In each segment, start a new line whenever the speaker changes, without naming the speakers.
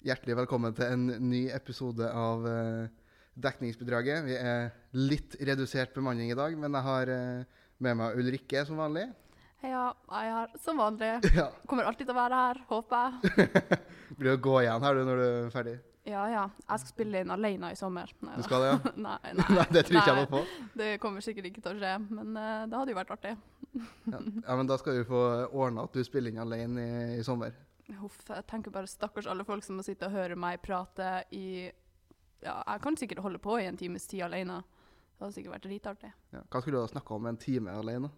Hjertelig velkommen til en ny episode av eh, Dekningsbedraget. Vi er litt redusert bemanning i dag, men jeg har eh, med meg Ulrikke som vanlig.
Heia, jeg er her som vanlig.
Ja.
Kommer alltid til å være her, håper jeg.
Blir å gå igjen her du når du er ferdig.
Ja, ja. Jeg skal spille inn alene i sommer. Nei,
Du
da.
skal det, ja?
nei,
Nei, det tror ikke jeg
Nei.
noe på.
det kommer sikkert ikke til å skje, men eh, det hadde jo vært artig.
Ja. ja, men da skal du få ordna at du spiller inn alene i, i sommer.
Huff, jeg tenker bare stakkars alle folk som må sitte og høre meg prate i Ja, jeg kan sikkert holde på i en times tid alene. Det hadde sikkert vært dritartig.
Ja. Hva skulle du ha snakka om en time alene?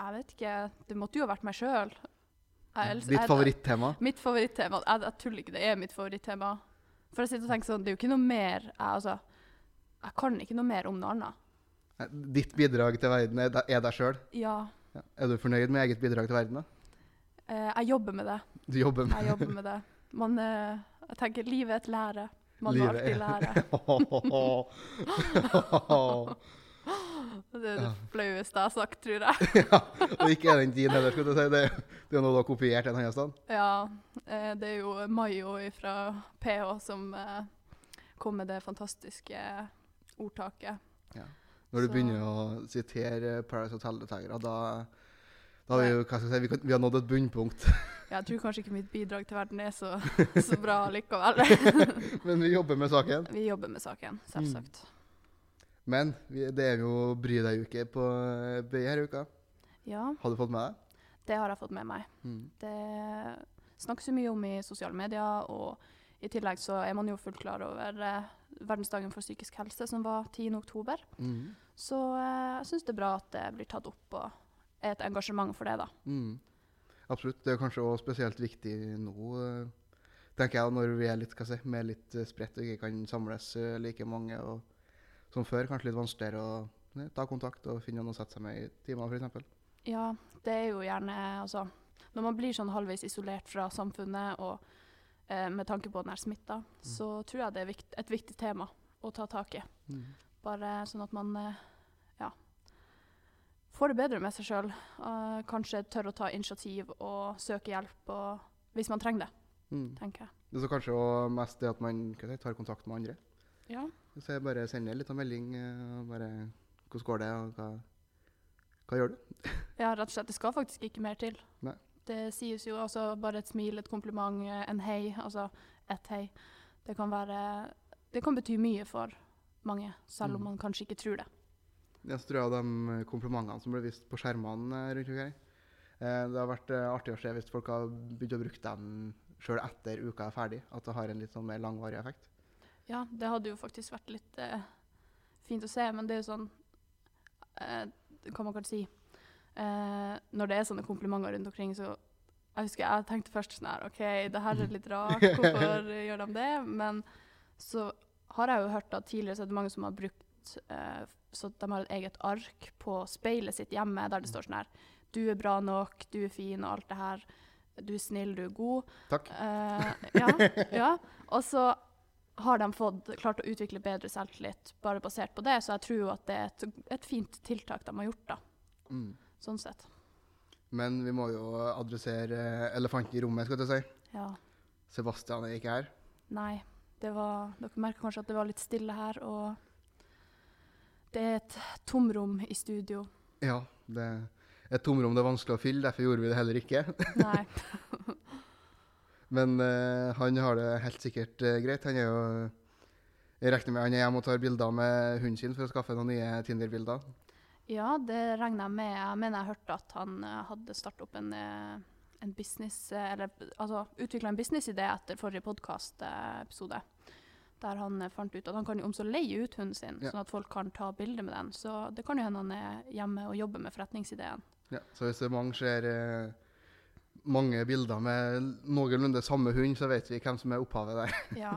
Jeg vet ikke. Det måtte jo ha vært meg sjøl.
Ditt favorittema?
Mitt favorittema jeg, jeg tuller ikke, det er mitt favorittema. For jeg sitter og tenker sånn, det er jo ikke noe mer Jeg, altså, jeg kan ikke noe mer om noe annet.
Nei, Ditt bidrag til verden er er deg sjøl?
Ja,
Ja. Er du fornøyd med eget bidrag til verden? da?
eh, jeg jobber med det.
Du jobber med
Jeg jobber med det. Man, eh, jeg tenker, livet er et lære. Man må
Livet er-
alltid lære. Det er det flaueste jeg har sagt, tror jeg.
Ja, og ikke er den din heller, skulle du si. Det, det er noe du har kopiert en annen sted.
Ja, eh, det er jo Mayo fra PH som eh, kom med det fantastiske ordtaket.
Når du
Så-
begynner å sitere eh, Paradise Hotel-deltakere, da, da har vi jo hva skal jeg si, vi, kan, vi har nådd et bunnpunkt.
Jeg tror kanskje ikke mitt bidrag til verden er så, så bra likevel.
Men vi jobber med saken.
Vi jobber med saken, selvsagt.
Men vi, det er jo Bry deg-uke på eh, BI her i uka.
Ja,
Har du fått med deg?
det har jeg fått med meg.
Mm.
Det snakkes jo mye om i sosiale medier, og i tillegg så er man jo fullt klar over eh, verdensdagen for psykisk helse, som var 10.10.
Mm.
Så eh, jeg syns det er bra at det blir tatt opp, og er et engasjement for det, da.
Mm. Absolutt. Det er kanskje også spesielt viktig nå, eh, tenker jeg, når vi er litt, hva skal jeg si, mer litt eh, spredt og ikke kan samles eh, like mange og, som før. Kanskje litt vanskeligere å eh, ta kontakt og finne noen å sette seg med i timer, f.eks.
Ja, det er jo gjerne altså Når man blir sånn halvveis isolert fra samfunnet, og eh, med tanke på den her smitta, så tror jeg det er vikt, et viktig tema å ta tak i.
Mm.
Bare sånn at man eh, ja, får det bedre med seg sjøl. kanskje tør å ta initiativ og søke hjelp og, hvis man trenger det,
Mm.
tenker jeg.
Det er så kanskje også mest det at man hva skal jeg si, tar kontakt med andre.
Ja.
Så jeg bare sender litt av melding. eh, og bare, Hvordan går det, og hva, hva gjør du?
rett og slett. Det skal faktisk ikke mer til.
Nei.
Det sies jo altså bare et smil, et kompliment, eh, en hei. Altså et hei. Det kan være Det kan bety mye for mange, selv om
Mm.
man kanskje ikke tror det.
Ja, så tror jeg de eh, komplimentene som ble vist på skjermene eh, rundt omkring eh, Det har vært eh, artig å se hvis folk har begynt å bruke dem sjøl etter uka er ferdig. At det har en litt sånn mer langvarig effekt.
Ja, det hadde jo faktisk vært litt eh, fint å se, men det er jo sånn eh, Hva man kan si eh, Når det er sånne komplimenter rundt omkring, så Jeg husker jeg tenkte først sånn her OK, det her er litt rart, hvorfor gjør de det? Men så har jeg jo hørt at tidligere så er det mange som har brukt eh, Så de har et eget ark på speilet sitt hjemme der det står sånn her Du er bra nok, du er fin og alt det her. Du er snill, du er god.
Takk.
Eh, ja, ja. Og så har de fått, klart å utvikle bedre selvtillit bare basert på det, så jeg tror jo at det er et, et fint tiltak de har gjort, da,
Mm.
sånn sett.
Men vi må jo adressere eh, elefanten i rommet, skal jeg til å si.
Ja.
Sebastian er ikke her.
Nei, det var Dere merker kanskje at det var litt stille her, og det er et tomrom i studio.
Ja, det er et tomrom det er vanskelig å fylle, derfor gjorde vi det heller ikke.
Nei.
Men eh, han har det helt sikkert eh, greit. Han er jo jeg regner med han er hjemme og tar bilder med hunden sin for å skaffe noen nye Tinder-bilder.
Ja, det regner jeg med. Jeg mener jeg hørte at han eh, hadde startet opp en, eh, en business, eh, eller altså utvikla en businessidé etter forrige podkastepisode. Der han eh, fant ut at han kan jo om så leie ut hunden sin,
Ja.
sånn at folk kan ta bilder med den. Så det kan jo hende han er hjemme og jobber med forretningsideen.
Ja, så hvis det er mange ser eh, mange bilder med noenlunde samme hund, så vet vi hvem som er opphavet der.
Ja,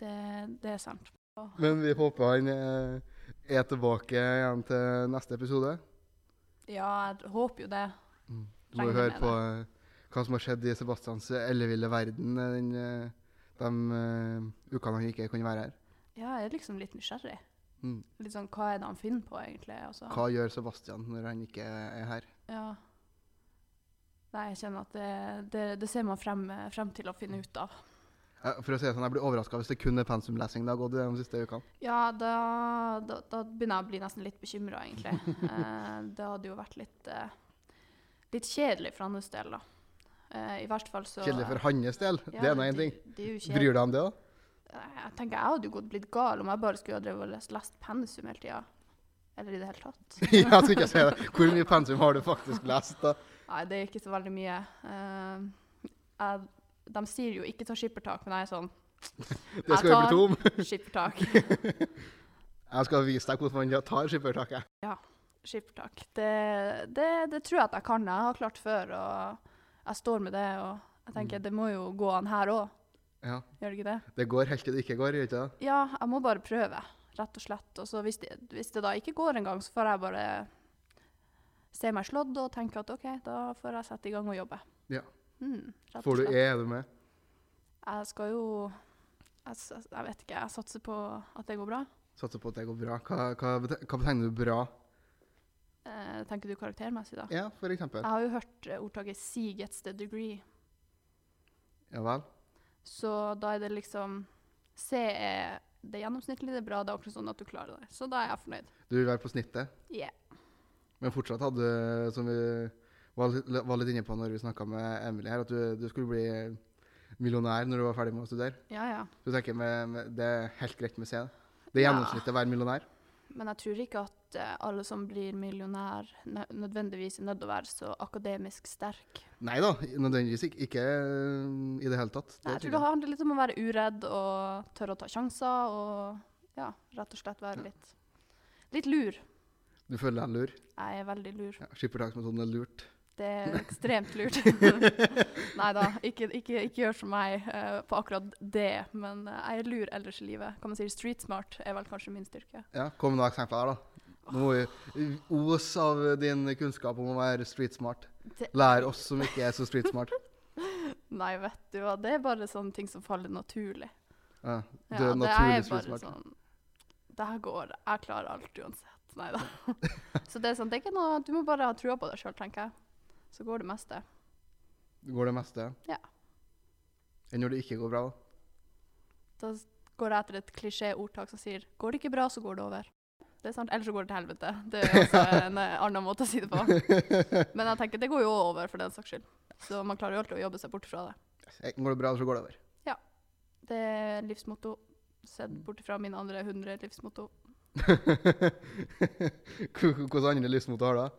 det, det er sant.
Men vi håper han eh, er tilbake igjen til neste episode. Mm.
Ja, jeg håper jo det.
Du må jo
Regner
høre
med
på eh, hva som har skjedd i Sebastians elleville verden eh, den, eh, de eh, ukene han ikke kunne være her.
Ja, jeg er liksom litt nysgjerrig.
Mm.
Litt sånn, Hva er det han finner på, egentlig? Altså,
Hva gjør Sebastian når han ikke er her?
Ja. Nei, jeg kjenner at det, det, det ser man frem, frem til å finne ut av.
Ja, For å si det sånn, Jeg blir overraska hvis det kun er pensumlesing det har gått i de siste ukene.
Ja, da, da, da begynner jeg å bli nesten litt bekymra, egentlig. Eh, det hadde jo vært litt, eh, litt kjedelig for hans del, da. Eh, I hvert fall så
Kjedelig for hans del.
Ja,
det er nå én ting.
Det er jo
Bryr
kjedelig.
du deg om det, da?
Eh, Jeg tenker jeg hadde jo gått blitt gal om jeg bare skulle ha drevet og lest, lest pensum hele tida. Eller i det hele tatt.
jeg skulle ikke si det. Hvor mye pensum har du faktisk lest, da?
Nei, det er ikke så veldig mye. Eh, jeg, de sier jo 'ikke ta skippertak', men jeg er sånn
Det skal vi
tar-
bli to om.
skippertak.
Jeg skal vise deg hvorfor man tar skippertaket.
skippertak. Det, det, det tror jeg at jeg kan. Jeg har klart før, og jeg står med det. Og jeg
Mm.
tenker det må jo gå an her òg,
Ja.
gjør det ikke det?
Det går helt til det ikke går, gjør ikke det?
Ja, jeg må bare prøve, rett og slett. Og så hvis det, hvis det da ikke går engang, så får jeg bare se meg slått og tenke at OK, da får jeg sette i gang og jobbe.
Ja.
Mm, rett
Får
og
du
slett.
E, er du med?
Jeg skal jo jeg, s- jeg vet ikke, jeg satser på at det går bra.
Satser på at det går bra. Hva, hva, bete- hva betegner du bra?
Eh, tenker du karaktermessig, da?
Ja, for eksempel.
Jeg har jo hørt eh, ordtaket 'see gets the degree'.
Ja vel.
Så da er det liksom C er det gjennomsnittlige, det er bra, det er akkurat sånn at du klarer det. Så da er jeg fornøyd.
Du vil være på snittet.
Yeah.
Men fortsatt hadde du, som vi var litt, var litt inne på når vi snakka med Emily her, at du, du skulle bli millionær når du var ferdig med å studere.
Ja, ja.
Så du tenker med, med, det er helt greit med C. da. Det er
Ja.
gjennomsnittet å være millionær.
Men jeg tror ikke at eh, alle som blir millionær, nø- nødvendigvis er nødt til å være så akademisk sterk.
Nei da, nødvendigvis ikke. Ikke øh, i det hele tatt.
Nei, jeg
tror
tror det handler litt om å være uredd og tørre å ta sjanser og ja, rett og slett være litt, litt lur.
Du føler deg lur.
Jeg er veldig lur.
Ja, Skippertaksmetoden sånn er lurt.
Det er ekstremt lurt. Nei da, ikke, ikke, ikke gjør som meg eh, på akkurat det, men eh, jeg er lur ellers i livet. Kan man si street smart er vel kanskje min styrke.
Ja, Kom med noen eksempler, her, da. Nå må vi os av din kunnskap om å være street smart.
Det-
Lær oss som ikke er så street smart.
Nei, vet du hva, det er bare sånne ting som faller naturlig.
Ja,
Ja,
du er
det
naturlig street smart.
sånn Det her går, jeg klarer alt uansett. Nei da. Så det er sånn, det er ikke noe Du må bare ha trua på deg sjøl, tenker jeg. Så går det meste.
Går det meste?
Ja.
Enn når det ikke går bra, da?
Da s- går jeg etter et klisjé-ordtak som sier 'går det ikke bra, så går det over'. Det er sant, Ellers så går det til helvete. Det er også en eh, annen måte å si det på. Men jeg tenker, det går jo over for den saks skyld. Så man klarer jo alltid å jobbe seg bort fra det.
Enten Eh, går det bra, eller så går det over.
Det er livsmotto. Sett bort fra mine andre 100 livsmotto.
Hva- Hvilke andre livsmotto har du? da?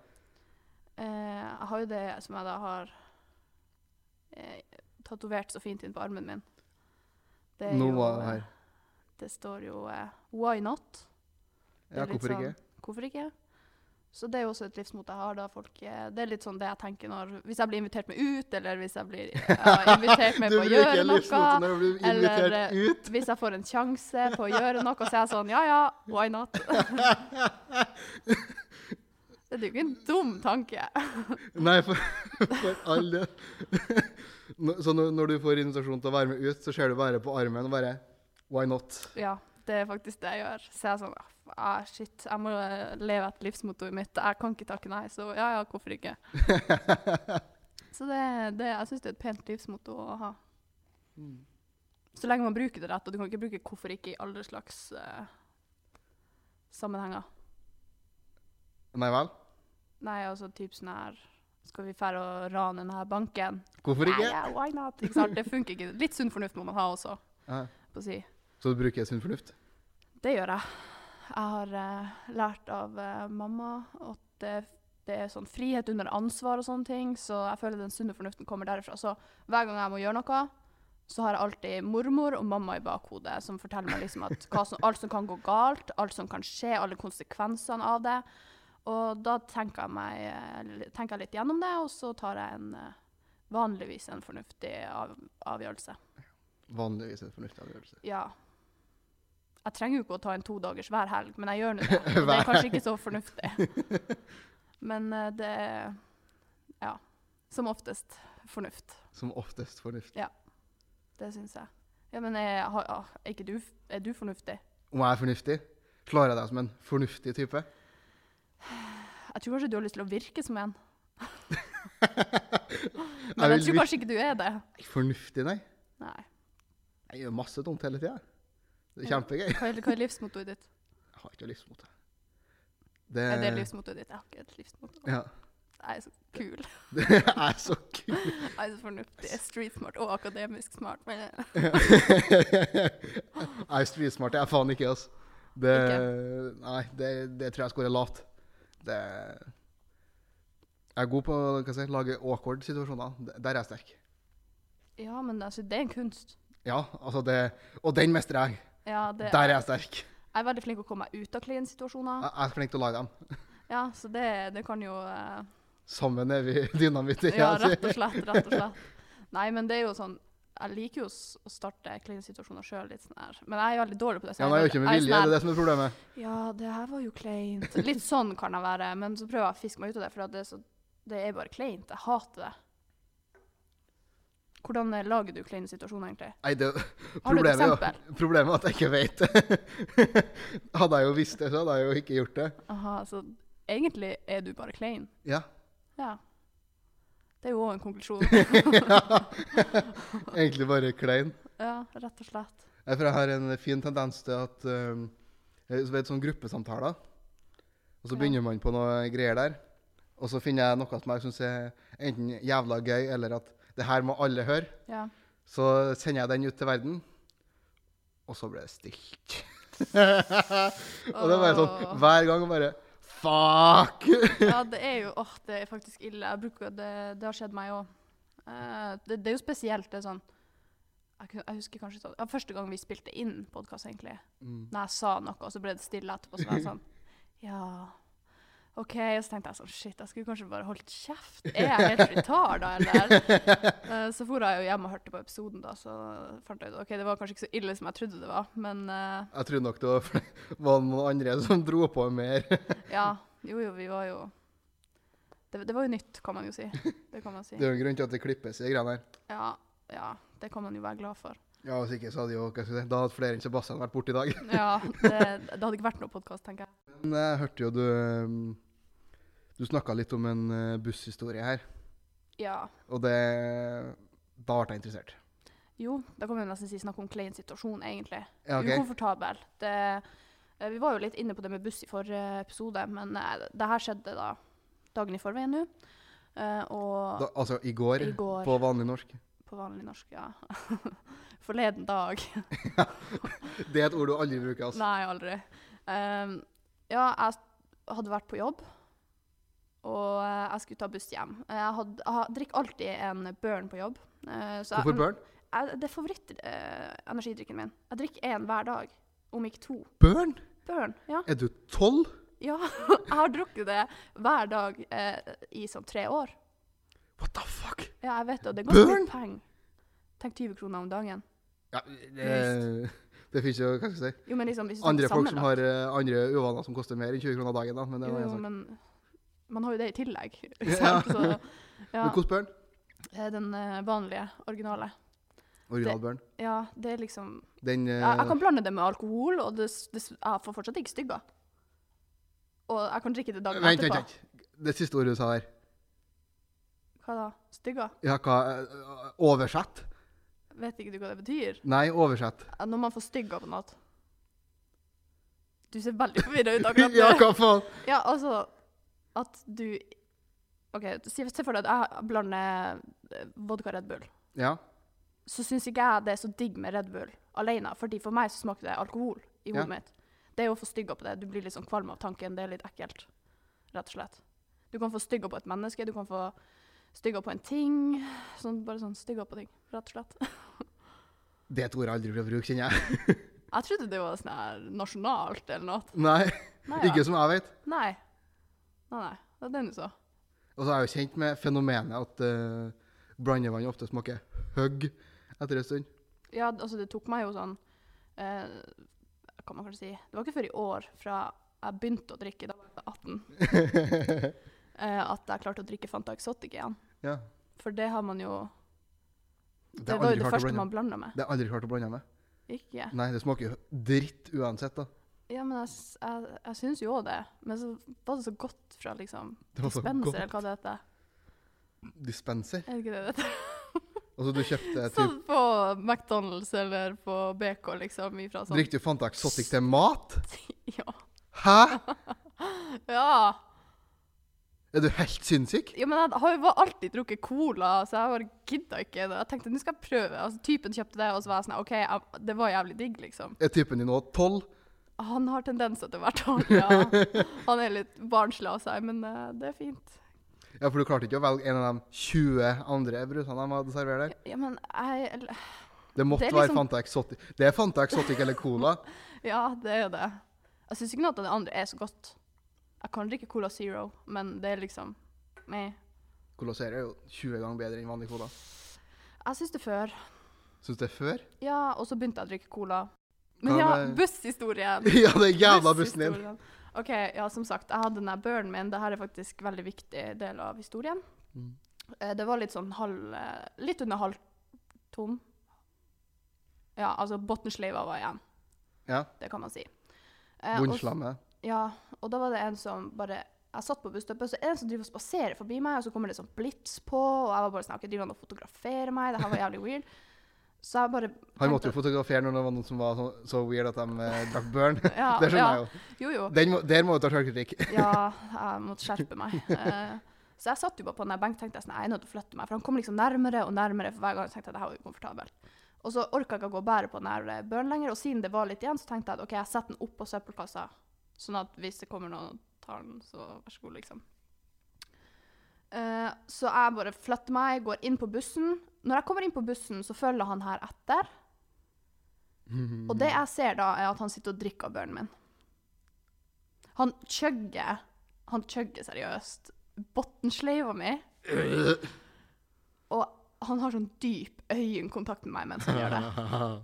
Eh, jeg har jo det som jeg da har eh, tatovert så fint inn på armen min. Det er
Nå
jo,
var
eh,
jeg her.
Det står jo eh, 'why not'. Det
Ja,
er litt
hvorfor ikke?
sånn, Hvorfor ikke? Så det er jo også et livsmot jeg har. da folk, eh, Det er litt sånn det jeg tenker når Hvis jeg blir invitert med ut, eller hvis jeg blir ja, invitert med
Du
på å
bruker
gjøre noe.
livsmotto når du blir invitert
eller, eh,
ut.
Hvis jeg får en sjanse på å gjøre noe, så er jeg sånn Ja ja, why not? Det er jo ikke en dum tanke.
Nei, for, for all del. Nå- Så når, når du får invitasjon til å være med ut, så ser du bare på armen og bare Why not?
Ja, det er faktisk det jeg gjør. Så jeg er sånn ah, f- ah, Shit, jeg må eh, leve etter livsmottoet mitt. Jeg kan ikke takke nei, så ja ja, hvorfor ikke? Så det, det, jeg syns det er et pent livsmotto å ha. Så lenge man bruker det rett, og du kan ikke bruke 'hvorfor ikke' i alle slags eh, sammenhenger.
Nei vel?
Nei, altså typ sånn her Skal vi fære og rane denne banken?
Hvorfor
Nei,
ikke?
ja, why not? Ikke sant? Det funker ikke. Litt sunn fornuft må man ha også.
Ja.
på å si.
Så du bruker sunn fornuft?
Det gjør jeg. Jeg har eh, lært av eh, mamma at det, det er sånn frihet under ansvar og sånne ting, så jeg føler den sunne fornuften kommer derifra. Så hver gang jeg må gjøre noe, så har jeg alltid mormor og mamma i bakhodet, som forteller meg liksom at hva som, alt som kan gå galt, alt som kan skje, alle konsekvensene av det. Og da tenker jeg, meg, eh, tenker jeg litt gjennom det, og så tar jeg en, eh, vanligvis en fornuftig av, avgjørelse.
Vanligvis en fornuftig avgjørelse.
Ja. Jeg trenger jo ikke å ta en to dagers hver helg, men jeg gjør nå det. Og det er kanskje ikke så fornuftig. Men eh, det er ja, som oftest fornuft.
Som oftest fornuft.
Det syns jeg. Ja, men er, har- ah, er, ikke du, er du fornuftig?
Om jeg er fornuftig, slår jeg deg som en fornuftig type?
Jeg tror kanskje du har lyst til å virke som en,
Jeg
men jeg
vil
tror
virke-
kanskje ikke du er det.
Fornuftig, nei.
Nei.
Jeg gjør masse dumt hele tida. Det er kjempegøy.
Hva er, hva er livsmottoet ditt?
Jeg har ikke livsmot.
Er
Eh.
det livsmottoet ditt? Jeg har ikke et livsmotto.
Ja.
Jeg er så kul.
Det er så kult.
Jeg er så fornuftig. Jeg er streetsmart og akademisk smart. Men jeg-
Jeg er streetsmart. Jeg er faen ikke, altså. Det, nei, det, det tror jeg skårer lavt. Det Jeg er god på hva skal jeg si, lage awkward situasjoner. D- Der er jeg sterk.
ja, men altså, det er en kunst.
Ja, altså det Og den mestrer jeg.
Ja, det
Der er jeg sterk.
Jeg er veldig flink til å komme meg ut av kleine situasjoner.
Jeg jeg er flink til å lage dem.
Ja, så det, det kan jo eh,
Sammen er vi dynamitt. ikke
Ja,
sant?
rett og slett. Rett og slett. Nei, men det er jo sånn Jeg liker jo s- å starte kleine situasjoner sjøl, litt sånn her. Men jeg er veldig dårlig på det. så
Ja, men jeg gjør ikke med
jeg er
vilje. Det er
sånn her,
det som er problemet.
Ja, det her var jo kleint. Litt sånn kan jeg være. Men så prøver jeg å fiske meg ut av det, for at det er, så, det er bare kleint. Jeg hater det. Hvordan eh, lager du kleine situasjoner, egentlig?
Nei, det,
Har du et
problemet, er jo-
eksempel?
problemet er at jeg ikke vet det. hadde jeg jo visst det, så hadde jeg jo ikke gjort det.
Aha, så egentlig er du bare klein.
Ja.
Ja. Det er jo òg en konklusjon.
Egentlig bare klein.
ja, rett og slett.
Jeg, for jeg har en fin tendens til at um, jeg vet sånn gruppesamtaler. Og så
Ja.
begynner man på noe greier der. Og så finner jeg noe som jeg syns er enten jævla gøy, eller at det her må alle høre.
Ja.
Så sender jeg den ut til verden, og så ble det stilt. og det er bare sånn hver gang bare Fuck!
ja, det er jo åh, det er faktisk ille. Jeg bruker, det, det har skjedd meg òg. det, det er jo spesielt. det er sånn, jeg, kunne- jeg husker kanskje sånn, ja, Første gang vi spilte inn podkast, egentlig,
Mm.
når jeg sa noe, og så ble det stille etterpå, så var jeg sånn Ja, OK. Og så tenkte jeg sånn Shit, jeg skulle kanskje bare holdt kjeft. Er jeg helt retarda, eller? Eh, så for jeg jo hjem og hørte på episoden, da, så fant jeg ut OK, det var kanskje ikke så ille som jeg trodde det var, men eh,
Jeg tror nok det var, fl- var noen andre som dro på mer.
Ja. Jo, jo, vi var jo det, det var jo nytt, kan man jo si. Det kan man si.
Det er jo en grunn til at det klippes i de greiene her.
Ja, ja, det kan man jo være glad for.
Ja, hvis ikke så hadde jo, hva skal jeg si, Da hadde flere enn Sebastian vært borte i dag.
Ja, det, det hadde ikke vært noe podkast, tenker jeg.
Men jeg hørte jo du um, Du snakka litt om en uh, busshistorie her,
Ja.
og det Da ble jeg interessert.
Jo, da kan vi jo nesten si snakk om klein situasjon, egentlig.
Ja, ok.
Ukomfortabel. Det, eh, vi var jo litt inne på det med buss i forrige episode, men eh, det her skjedde da dagen i forveien nå. Eh, og
Da, altså i går,
i går
på vanlig norsk.
på vanlig norsk, ja. Forleden dag.
Det er et ord du aldri bruker. altså.
Nei, aldri. Ehm, ja, jeg s- hadde vært på jobb, og eh, jeg skulle ta buss hjem. Eh, Jeg, hadde, jeg har- drikker alltid en Burn på jobb. eh, så jeg-
Hvorfor burn?
Jeg, det er favoritt-energidrikken min. Jeg drikker én hver dag, om ikke to.
Burn?
Burn, ja.
Er du tolv?
ja. Jeg har drukket det hver dag eh, i sånn tre år.
What the fuck?
Ja, jeg vet det, og det er ganske
Burn?
mye penger. Tenk 20 kroner om dagen.
Ja, det, det fins jo hva skal jeg si,
Jo, men liksom, hvis du
andre
tenker
folk som
sammenlagt-
har eh, andre uvaner som koster mer enn 20 kroner dagen. da, Men det
Jo,
var en
jo,
sak.
men man har jo det i tillegg.
Ja.
Ikke sant? Så, ja.
Men hvordan burn?
Det er den eh, vanlige, originale.
Original burn.
Ja, det er liksom
Den eh,
Jeg, jeg kan blande det med alkohol, og det, s- det, s- jeg får fortsatt ikke stygga. Og jeg kan drikke det dagen
Vent, vent,
etterpå.
vent. Det siste ordet du sa der.
Hva da? Stygga?
Ja, hva, eh, oversett?
Vet ikke du hva det betyr?
Nei, oversett.
Ja, Når man får stygga på natt. Du ser veldig forvirra ut akkurat
ja,
nå.
hva faen?
Ja, altså At du OK, si se for deg at jeg blander eh, vodka og Red Bull.
Ja.
så syns ikke jeg det er så digg med Red Bull alene. Fordi for meg så smaker det alkohol i
Ja.
hodet mitt. Det er jo å få stygga på det. Du blir litt sånn kvalm av tanken. Det er litt ekkelt, rett og slett. Du kan få stygga på et menneske, du kan få stygga på en ting. Sånn, bare sånn stygga på ting, rett og slett.
Det er et ord jeg aldri blir å bruke, kjenner jeg.
Jeg trodde det var sånn her nasjonalt eller noe.
Nei,
Nei,
Ikke som jeg vet.
Nei. Nei, nei. Det er den du så.
Og så er jeg jo kjent med fenomenet at uh, blandevann ofte smaker høgg etter en stund.
Ja, d- altså det tok meg jo sånn eh, Kan man kanskje si Det var ikke før i år, fra jeg begynte å drikke da jeg var 18, eh, at jeg klarte å drikke Fanta Exotic igjen.
ja.
For det har man jo
Det,
Det
har jeg
var jo
aldri
det
klart å
første
blande-
man blanda med.
Det har jeg aldri klart å blande med.
Ikke?
Nei, det smaker jo dritt uansett, da.
Ja, men jeg, s- jeg, jeg syns jo òg det. Men så var det så godt fra liksom
Det var så
dispenser,
godt.
eller hva det heter.
Dispenser.
Er det ikke det det heter?
Altså, du kjøpte typ,
Sånn på McDonald's eller på BK, liksom, ifra sånn
Drikker du Fanta Exotic til mat?
Ja.
Hæ?!
ja.
Er du helt sinnssyk?
Ja, men jeg har jo alltid drukket cola, så jeg bare gidda ikke det. Jeg tenkte nå skal jeg prøve. Altså, typen kjøpte det, og så var jeg sånn OK, jeg, det var jævlig digg, liksom.
Er typen din nå tolv?
Han har tendenser til å være tolv, ja. Han er litt barnslig av seg, men eh, det er fint.
Ja, for du klarte ikke å velge en av de 20 andre brusene de hadde servert der?
Ja, men jeg eller-
Det måtte
Det er
være
liksom-
Fanta Exotic. Det er Fanta Exotic eller Cola.
Ja, det er jo det. Jeg syns ikke noe av det andre er så godt. Jeg kan drikke Cola Zero, men det er liksom meh.
Cola Zero er jo 20 ganger bedre enn vanlig Cola.
Jeg syns det før.
Syns du det er før?
Ja, og så begynte jeg å drikke cola. Men
Hva
ja,
med-
busshistorien.
Ja, den jævla bussen din.
Busshistorien. OK, ja, som sagt, jeg hadde den der børen min. Dette er faktisk en veldig viktig del av historien.
Mm.
Eh, Det var litt sånn halv eh, Litt under halv tom. Ja, altså bunnsleiva var igjen.
Ja.
Det kan man si. Eh, og-
Bunnslammet.
ja, og da var det en som bare Jeg satt på busstoppet, så er det en som driver og spaserer forbi meg, og så kommer det sånn blits på, og jeg var bare sånn OK, driver han og fotograferer meg? Det her var jævlig weird. Så jeg bare
Han måtte
tenkte-
jo fotografere når det var noen som var så, så weird at de eh, drakk børn.
Ja,
det skjønner
ja.
jeg jo.
Jo, jo.
Den må, der må du ta sjølkritikk.
Ja, jeg måtte skjerpe meg. Eh, så jeg satt jo bare på den der benken tenkte jeg sånn, jeg er nødt til å flytte meg. For han kom liksom nærmere og nærmere for hver gang. Så tenkte jeg det her var ukomfortabelt. Og så orka jeg ikke å gå og bære på den her eh, børen lenger. Og siden det var litt igjen, så tenkte jeg at OK, jeg setter den opp på søppelkassa. Sånn at hvis det kommer noen og tar den, så vær så god, liksom. Eh, så jeg bare flytter meg, går inn på bussen. Når jeg kommer inn på bussen, så følger han her etter. Og det jeg ser da, er at han sitter og drikker av børen min. Han chugger Han chugger seriøst botnsleiva mi, og han har sånn dyp øyekontakt med meg mens han gjør det.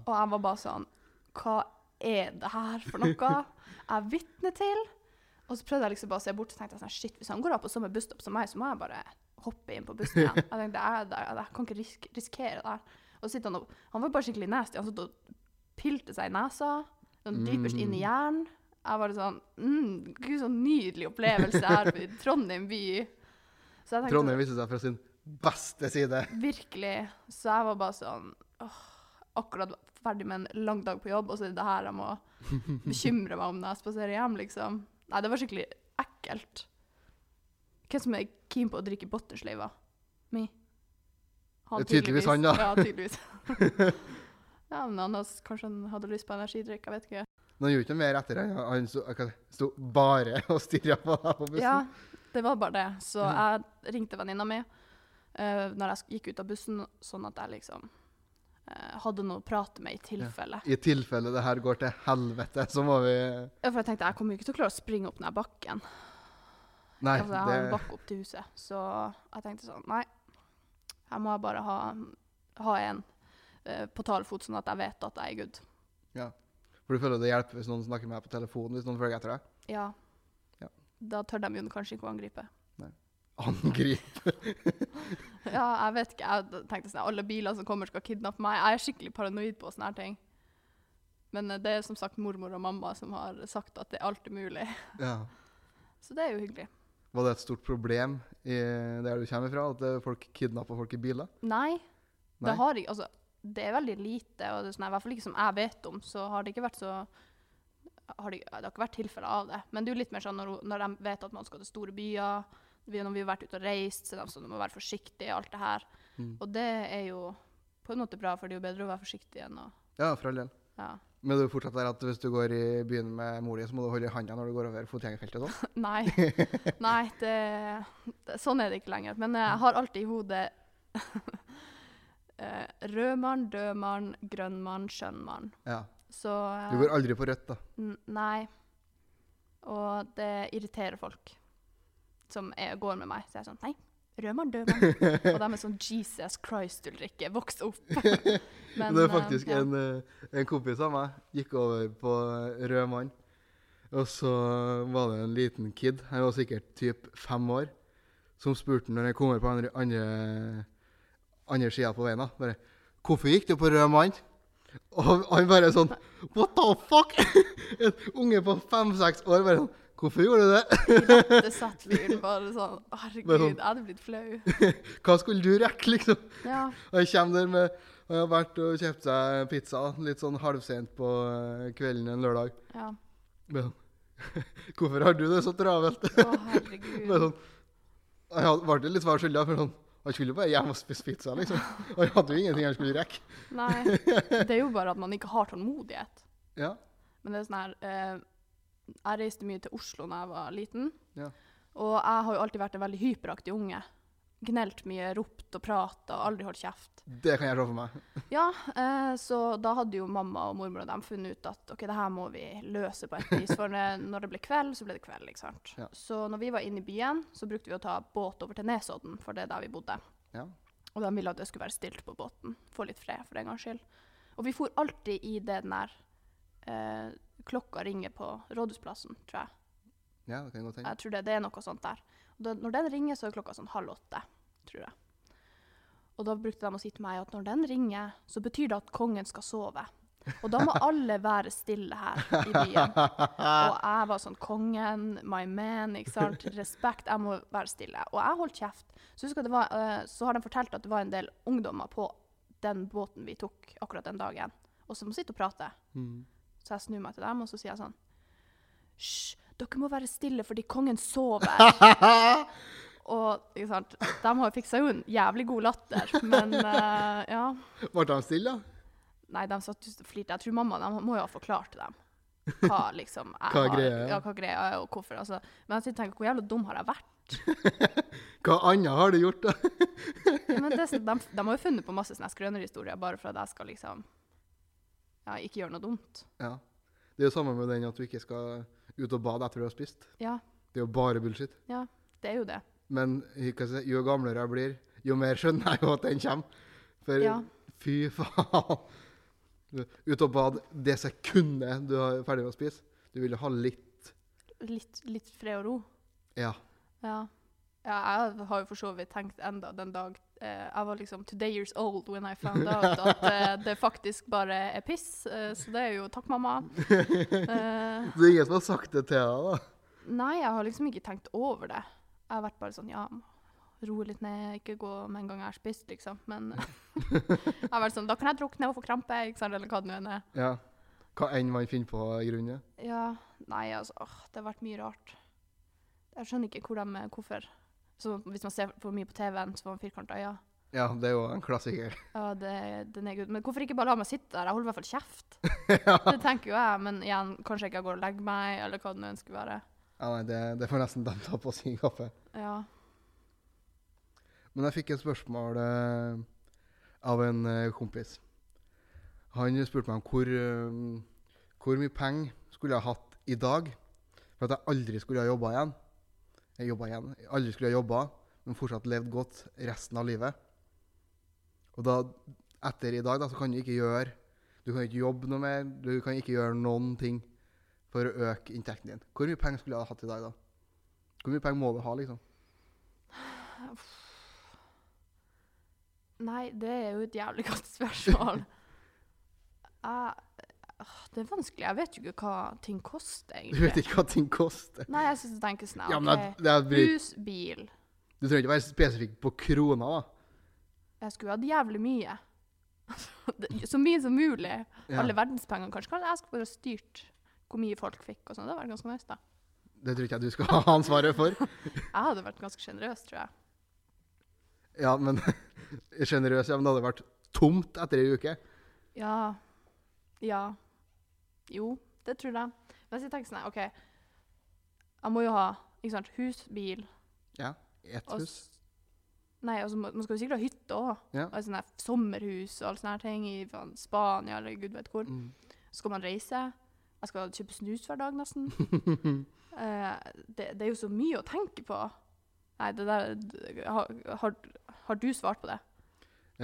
Og jeg var bare sånn Hva er det her for noe jeg er vitne til? Og så prøvde jeg liksom bare å se bort og tenkte jeg sånn, shit, hvis han går av på samme busstopp som meg, så må jeg bare hoppe inn på bussen igjen. Jeg tenkte, jeg, er der, jeg kan ikke risk risikere det her. Og så sitter han og Han var bare skikkelig nasty. Han satt og pilte seg i nesa, sånn dypest inn i hjernen. Jeg var sånn mm, Gud, så nydelig opplevelse her i Trondheim by. Så jeg tenkte,
Trondheim viser seg fra sin beste side.
Virkelig. Så jeg var bare sånn åh, Akkurat ferdig med en lang dag på jobb, og så er det det her jeg må bekymre meg om når jeg spaserer hjem, liksom. Nei, det var skikkelig ekkelt. Hvem som er keen på å drikke bottersleiva? Me. Han
Det er tydeligvis han, da.
Ja, tydeligvis. ja, men han has- kanskje han hadde lyst på energidrikk, jeg vet ikke.
Men han gjorde ikke noe mer etter det. Han sto, hva det- sto bare og stirra på deg på bussen. Mhm.
Ja, det var bare det. Så jeg ringte venninna mi eh, når jeg sk- gikk ut av bussen, sånn at jeg liksom eh, hadde noe å prate med i tilfelle.
I tilfelle det her går til helvete, så må vi
Ja, For jeg tenkte jeg kommer jo ikke til å klare å springe opp den her bakken.
Nei,
altså, jeg har en
det
bakke opp til huset. Så jeg tenkte sånn, nei, her må jeg bare ha, ha en eh, på talefot, sånn at jeg vet at jeg er good.
For du føler det hjelper hvis noen snakker med deg på telefonen, hvis noen følger etter deg?
Ja.
Ja.
Da tør de jo kanskje ikke å angripe.
Angrip.
Ja, jeg vet ikke. Jeg tenkte sånn, alle biler som kommer skal kidnappe meg. Jeg er skikkelig paranoid på sånne her ting. Men eh, det er som sagt mormor og mamma som har sagt at det er alt er mulig.
Ja.
Så det er jo hyggelig.
Var det et stort problem i der du kommer fra, at eh, folk kidnapper folk i biler?
Nei,
Nei.
det har ikke, altså, det er veldig lite, og det er sånn, i hvert fall ikke som jeg vet om, så har det ikke vært så, har det, det har ikke vært tilfeller av det. Men det er jo litt mer sånn når, når de vet at man skal til store byer, vi, når vi har vært ute og reist, så er de sånn, du må være forsiktig og alt det her.
Mm.
Og det er jo på en måte bra, for det er jo bedre å være forsiktig enn å,
Ja, for all del.
ja.
Men det er jo fortsatt der at hvis du går i byen med mor di, så må du holde i handa når du går over fotgjengerfeltet og sånn.
Nei. Nei det, det, sånn er det ikke lenger. Men eh, jeg har alltid i hodet eh, rød mann, død mann, grønn mann, skjønn mann.
Ja.
Så eh,
Du går aldri på rødt, da.
n- Nei. Og det irriterer folk som er, går med meg. Så jeg er sånn Nei, rød mann, død mann. Og de er sånn Jesus Christ, Ulrikke, voks opp. Men,
det er
eh,
faktisk
ja.
en, eh, en kompis av meg gikk over på eh, rød mann. Og så var det en liten kid, han var sikkert typ fem år, som spurte når jeg kom over på andre, andre, andre sida på veien, da, bare 'Hvorfor gikk du på rød mann?' Og han bare sånn 'What the fuck?' En unge på fem-seks år bare sånn Hvorfor gjorde du det?
Det satt fyren bare sånn Herregud,
Bare sånn.
jeg hadde blitt flau.
Hva skulle du rekke, liksom?
Ja,
Og jeg kommer der med og jeg har vært og kjøpt seg pizza litt sånn halvsent på eh, kvelden en lørdag.
ja.
Bare sånn, Hvorfor har du det så travelt?
Å,
Bare
herregud.
sånn, jeg had- ble det litt svar skyldig, for sånn, han skulle jo bare hjem og spise pizza, liksom. Og jeg hadde jo ingenting han skulle rekke.
Nei. Det er jo bare at man ikke har tålmodighet.
Ja.
Men det er sånn her eh, Jeg reiste mye til Oslo da jeg var liten.
Ja.
Og jeg har jo alltid vært en veldig hyperaktig unge. Gnelt mye, ropt og prata og aldri holdt kjeft.
Det kan jeg se for meg.
Ja, eh, så da hadde jo mamma og mormor og dem funnet ut at ok, det her må vi løse på et vis. For når når det ble kveld, så ble det kveld, ikke sant.
Ja.
Så når vi var inne i byen, så brukte vi å ta båt over til Nesodden, for det er der vi bodde.
Ja.
Og de ville at det skulle være stilt på båten. Få litt fred, for den gangs skyld. Og vi for alltid i det den der eh, klokka ringer på Rådhusplassen, tror jeg.
ja, det kan jeg godt tenke.
Jeg tror det, det er noe sånt der. Og da, når den ringer, så er klokka sånn halv åtte, tror jeg. Og da brukte de å si til meg at når den ringer, så betyr det at kongen skal sove. Og da må alle være stille her i byen. Og jeg var sånn Kongen, my man, ikke sant. Respekt, jeg må være stille. Og jeg holdt kjeft. Så husker jeg det var, eh, så har de fortalt at det var en del ungdommer på den båten vi tok akkurat den dagen, og som sitter og prater.
Mm.
Så jeg snur meg til dem, og så sier jeg sånn Hysj, dere må være stille fordi kongen sover. og ikke sant, de har fiksa jo en jævlig god latter, men eh, ja.
Ble han stille, da?
Nei, de satt just og flirte. Jeg tror mamma de må jo ha forklart til dem hva liksom jeg
Hva
har-
greia er.
Ja, hva greia er, og hvorfor. Altså. Men jeg sitter og tenker, hvor jævla dum har jeg vært?
Hva annet har du gjort, da?
Men det, er sånn, de, de har jo funnet på masse sånne skrønerhistorier bare for at jeg skal liksom ja, ikke gjøre noe dumt.
Ja. Det er jo samme med den at du ikke skal ut og bade etter du har spist.
Ja,
Det er jo bare bullshit.
ja, det er jo det.
Men jeg kan si, jo gamlere jeg blir, jo mer skjønner jeg jo at den kommer. For
Ja.
fy faen. Du, Ut og bade det sekundet du er ferdig med å spise. Du vil jo ha litt
Litt, litt fred og ro.
Ja.
Ja. ja, jeg har jo for så vidt tenkt enda den dag eh, Jeg var liksom today years old when I found out at eh, det faktisk bare er piss. eh, så det er jo takk, mamma. Eh,
Det er ingen som har sagt det til deg, da.
nei, jeg har liksom ikke tenkt over det. Jeg har vært bare sånn ja, roe litt ned, ikke gå med en gang jeg har spist, liksom. Men jeg har vært sånn da kan jeg drukne og få krampe, ikke sant, eller hva det nå enn er.
Ja. Hva enn man finner på i grunnen.
Ja, nei, altså, åh, det har vært mye rart. Jeg skjønner ikke hvor de, hvorfor. Så hvis man ser for mye på TV-en, så får man firkanta øyne.
Ja, det er jo en klassiker.
Ja, det, den er good. Men hvorfor ikke bare la meg sitte der? Jeg holder i hvert fall kjeft.
ja.
Det tenker jo jeg, men igjen, kanskje jeg ikke går og legger meg, eller hva det nå ønsker være.
ja, nei, det, det får nesten dem ta på sin kaffe.
Ja.
Men jeg fikk et spørsmål eh, av en eh, kompis. Han spurte meg om hvor, eh, hvor mye penger skulle jeg hatt i dag for at jeg aldri skulle ha jobba igjen. Jeg jobbet igjen. Jeg Aldri skulle ha jobba, men fortsatt levd godt resten av livet. Og da, etter i dag da, så kan du ikke gjøre Du kan ikke jobbe noe mer. Du kan ikke gjøre noen ting for å øke inntekten din. Hvor mye penger skulle jeg ha hatt i dag, da? Hvor mye penger må du ha, liksom?
Nei, det er jo et jævlig godt spørsmål. Jeg, åh, det er vanskelig. Jeg vet jo ikke hva ting koster,
Du vet
egentlig.
ikke hva ting koster.
Nei, jeg synes jeg tenker sånn,
Ja,
ja,
men det,
ok. Mm.
det er, bry-
Hus, bil.
du trenger ikke være spesifikk på krona, da.
Jeg skulle hatt jævlig mye. Det- Så mye som mulig.
Ja.
Alle verdenspengene, kanskje. Kanskje Jeg skulle bare styrt hvor mye folk fikk og sånn. Det hadde vært ganske nice, da.
Det tror ikke jeg du skal ha ansvaret for.
Jeg hadde vært ganske sjenerøs, tror jeg.
Ja, men generøs, ja, men det hadde vært tomt etter ei uke.
Ja. Ja. Jo, det tror jeg. Men jeg tenker sånn, OK. Jeg må jo ha ikke sant, hus, bil
Ja, ett
og
hus.
s- Nei, og så må- man skal jo sikkert ha hytte òg.
Ja.
Og sånne her sommerhus og alle sånne her ting i faen, Spania eller gud vet hvor.
Mm.
Så skal man reise. Jeg skal kjøpe snus hver dag, nesten.
Mm.
Eh, det, det er jo så mye å tenke på. Nei, det der d- Har, har, har du svart på det?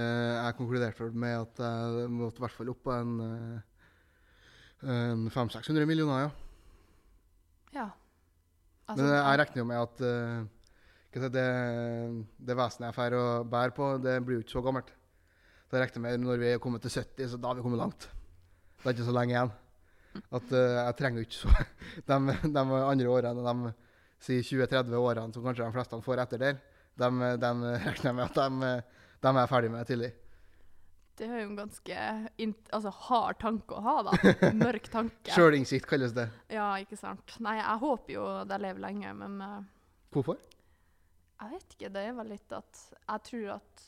Eh, jeg konkluderte vel med at jeg måtte i hvert fall opp på en, eh, en 500-600 millioner, ja.
Ja. Altså,
Men jeg regner jo med at eh, hva skal jeg si, det, det vesenet jeg drar og bærer på, det blir jo ikke så gammelt. Så jeg regner med når vi er kommet til 70, så da har vi kommet langt. Det er ikke så lenge igjen. At eh, jeg trenger jo ikke så de, de andre årene, de sier 20-30 årene som kanskje de fleste får etter der, de, de regner jeg med at de, de er ferdig med tidlig.
Det er jo en ganske int- altså, hard tanke å ha, da. Mørk tanke.
Sjølinnsikt kalles det.
Ja, ikke sant. Nei, jeg håper jo at jeg lever lenge, men eh,
Hvorfor?
jeg vet ikke. Det er vel litt at Jeg tror at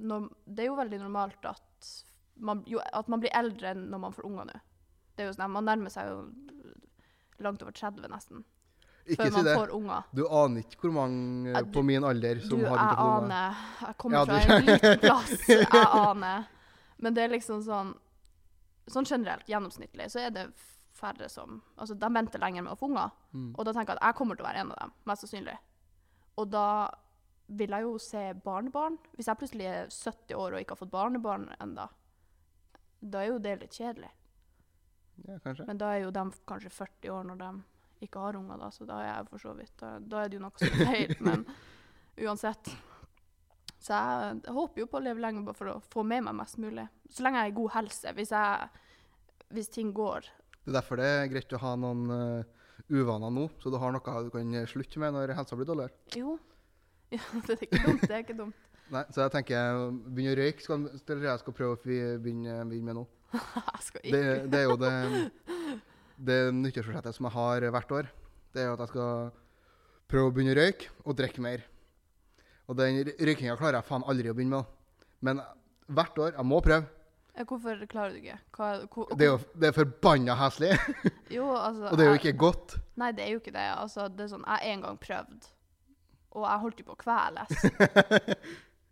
når, Det er jo veldig normalt at man, jo, at man blir eldre enn når man får unger nå. Det er jo sånn, Man nærmer seg jo langt over 30 nesten
Ikke
før
si
man
det.
får unger.
Du aner ikke hvor mange
Ja,
eh, på min alder som
du,
har
jeg
mikrofoner.
aner. Jeg kommer
Ja, du-
fra en liten plass. Jeg aner. Men det er liksom sånn Sånn generelt, gjennomsnittlig, så er det færre som Altså, de venter lenger med å få unger.
Mm.
Og da tenker jeg at jeg kommer til å være en av dem, mest sannsynlig. Og da vil jeg jo se barnebarn. Hvis jeg plutselig er 70 år og ikke har fått barnebarn enda, da er jo det litt kjedelig.
Ja, kanskje.
Men da er jo de kanskje 40 år når de ikke har unger, da, så da er jeg for så vidt Da, da er det jo noe som er feil, men uansett. Så jeg, jeg håper jo på å leve lenge bare for å få med meg mest mulig. Så lenge jeg er i god helse. Hvis, jeg, hvis ting går
Det er derfor det er greit å ha noen eh, uvaner nå, så du har noe du kan slutte med når helsa blir dårligere.
Jo. Ja, det er ikke dumt. Det er ikke dumt.
Nei, så jeg tenker begynne å røyke skal, det tror jeg jeg skal prøve å fi- begynne, begynne med nå.
Jeg skal
Det,
ikke
det er jo det, det nyttårsforsettet som jeg har hvert år. Det er jo at jeg skal prøve å begynne å røyke og drikke mer. Og den røy- røykinga klarer jeg faen aldri å begynne med. da. Men hvert år Jeg må prøve.
Ja, Hvorfor klarer du ikke? Hva, hvor,
Det er jo det er forbanna heslig,
jo, altså,
og det er jo
jeg-
ikke godt.
Nei, det er jo ikke det. Altså, det er sånn, jeg har en gang prøvd, og jeg holdt jo på å kveles.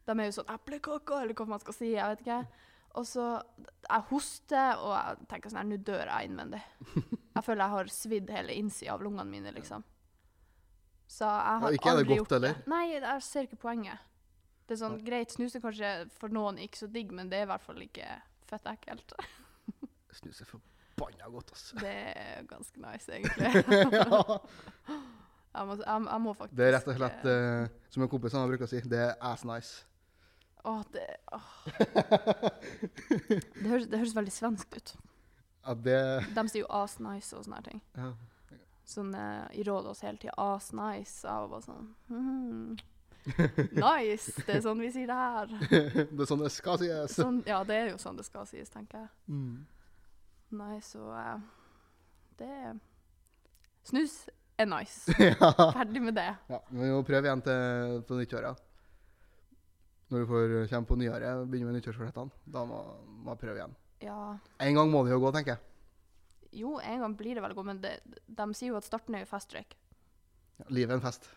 De er jo sånn 'eplekake', eller hva man skal si. Jeg vet ikke. Og så Jeg hoster, og jeg tenker sånn her, Nå dør jeg innvendig. Jeg føler jeg har svidd hele innsida av lungene mine, liksom. Så jeg har
Ja, ikke er det
aldri
godt,
gjort det.
heller.
Nei, jeg ser ikke poenget. Det er sånn, Greit, snus er kanskje for noen ikke så digg, men det er i hvert fall ikke fett ekkelt.
Snus er forbanna godt, altså.
Det er ganske nice, egentlig.
ja.
Jeg må, jeg, jeg må faktisk
Det er rett og slett, eh, som en kompis av meg bruker å si, det er ass nice.
Å, det, åh. det, høres, det høres veldig svensk ut.
Ja, det
De sier jo 'as nice' og sånne her ting.
ja.
Sånn, eh, I rådet oss hele tida 'as nice'. Jeg var bare sånn «Hmm, Nice! Det er sånn vi sier det her.
Det er sånn det skal sies.
Sånn, ja, det er jo sånn det skal sies, tenker jeg.
Mm.
Nice og eh, Det er- Snus er nice.
ja.
Ferdig med det.
ja. men Vi må prøve igjen til, til nyttåret. Når du får eh, kommer på nyåret og begynner med nyttårsforsettene, da må må jeg prøve igjen.
Ja.
En gang må det jo gå, tenker jeg.
Jo, en gang blir det vel godt, men det, de sier jo at starten er jo festrøyk.
Ja, livet er en fest.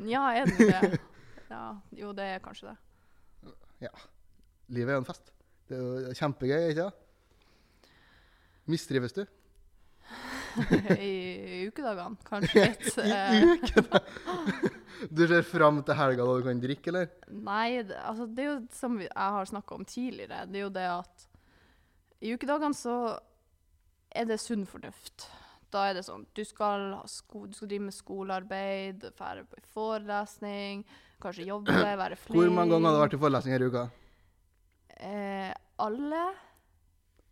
Ja, er det det? Ja, jo, det er kanskje det.
Livet er jo en fest. Det er jo kjempegøy, ikke det? Mistrives du?
I ukedagene, kanskje litt.
I
Eh,
ukene? Du ser fram til helga da du kan drikke, eller?
Eh, Nei, det, altså, det er jo som vi- jeg har snakka om tidligere, det er jo det at i ukedagene så er det sunn fornuft. Da er det sånn du skal, ha sko, du skal drive med skolearbeid, dra på forelesning, kanskje jobbe, være flink.
Hvor mange ganger har du vært i forelesning her i uka?
Eh, alle?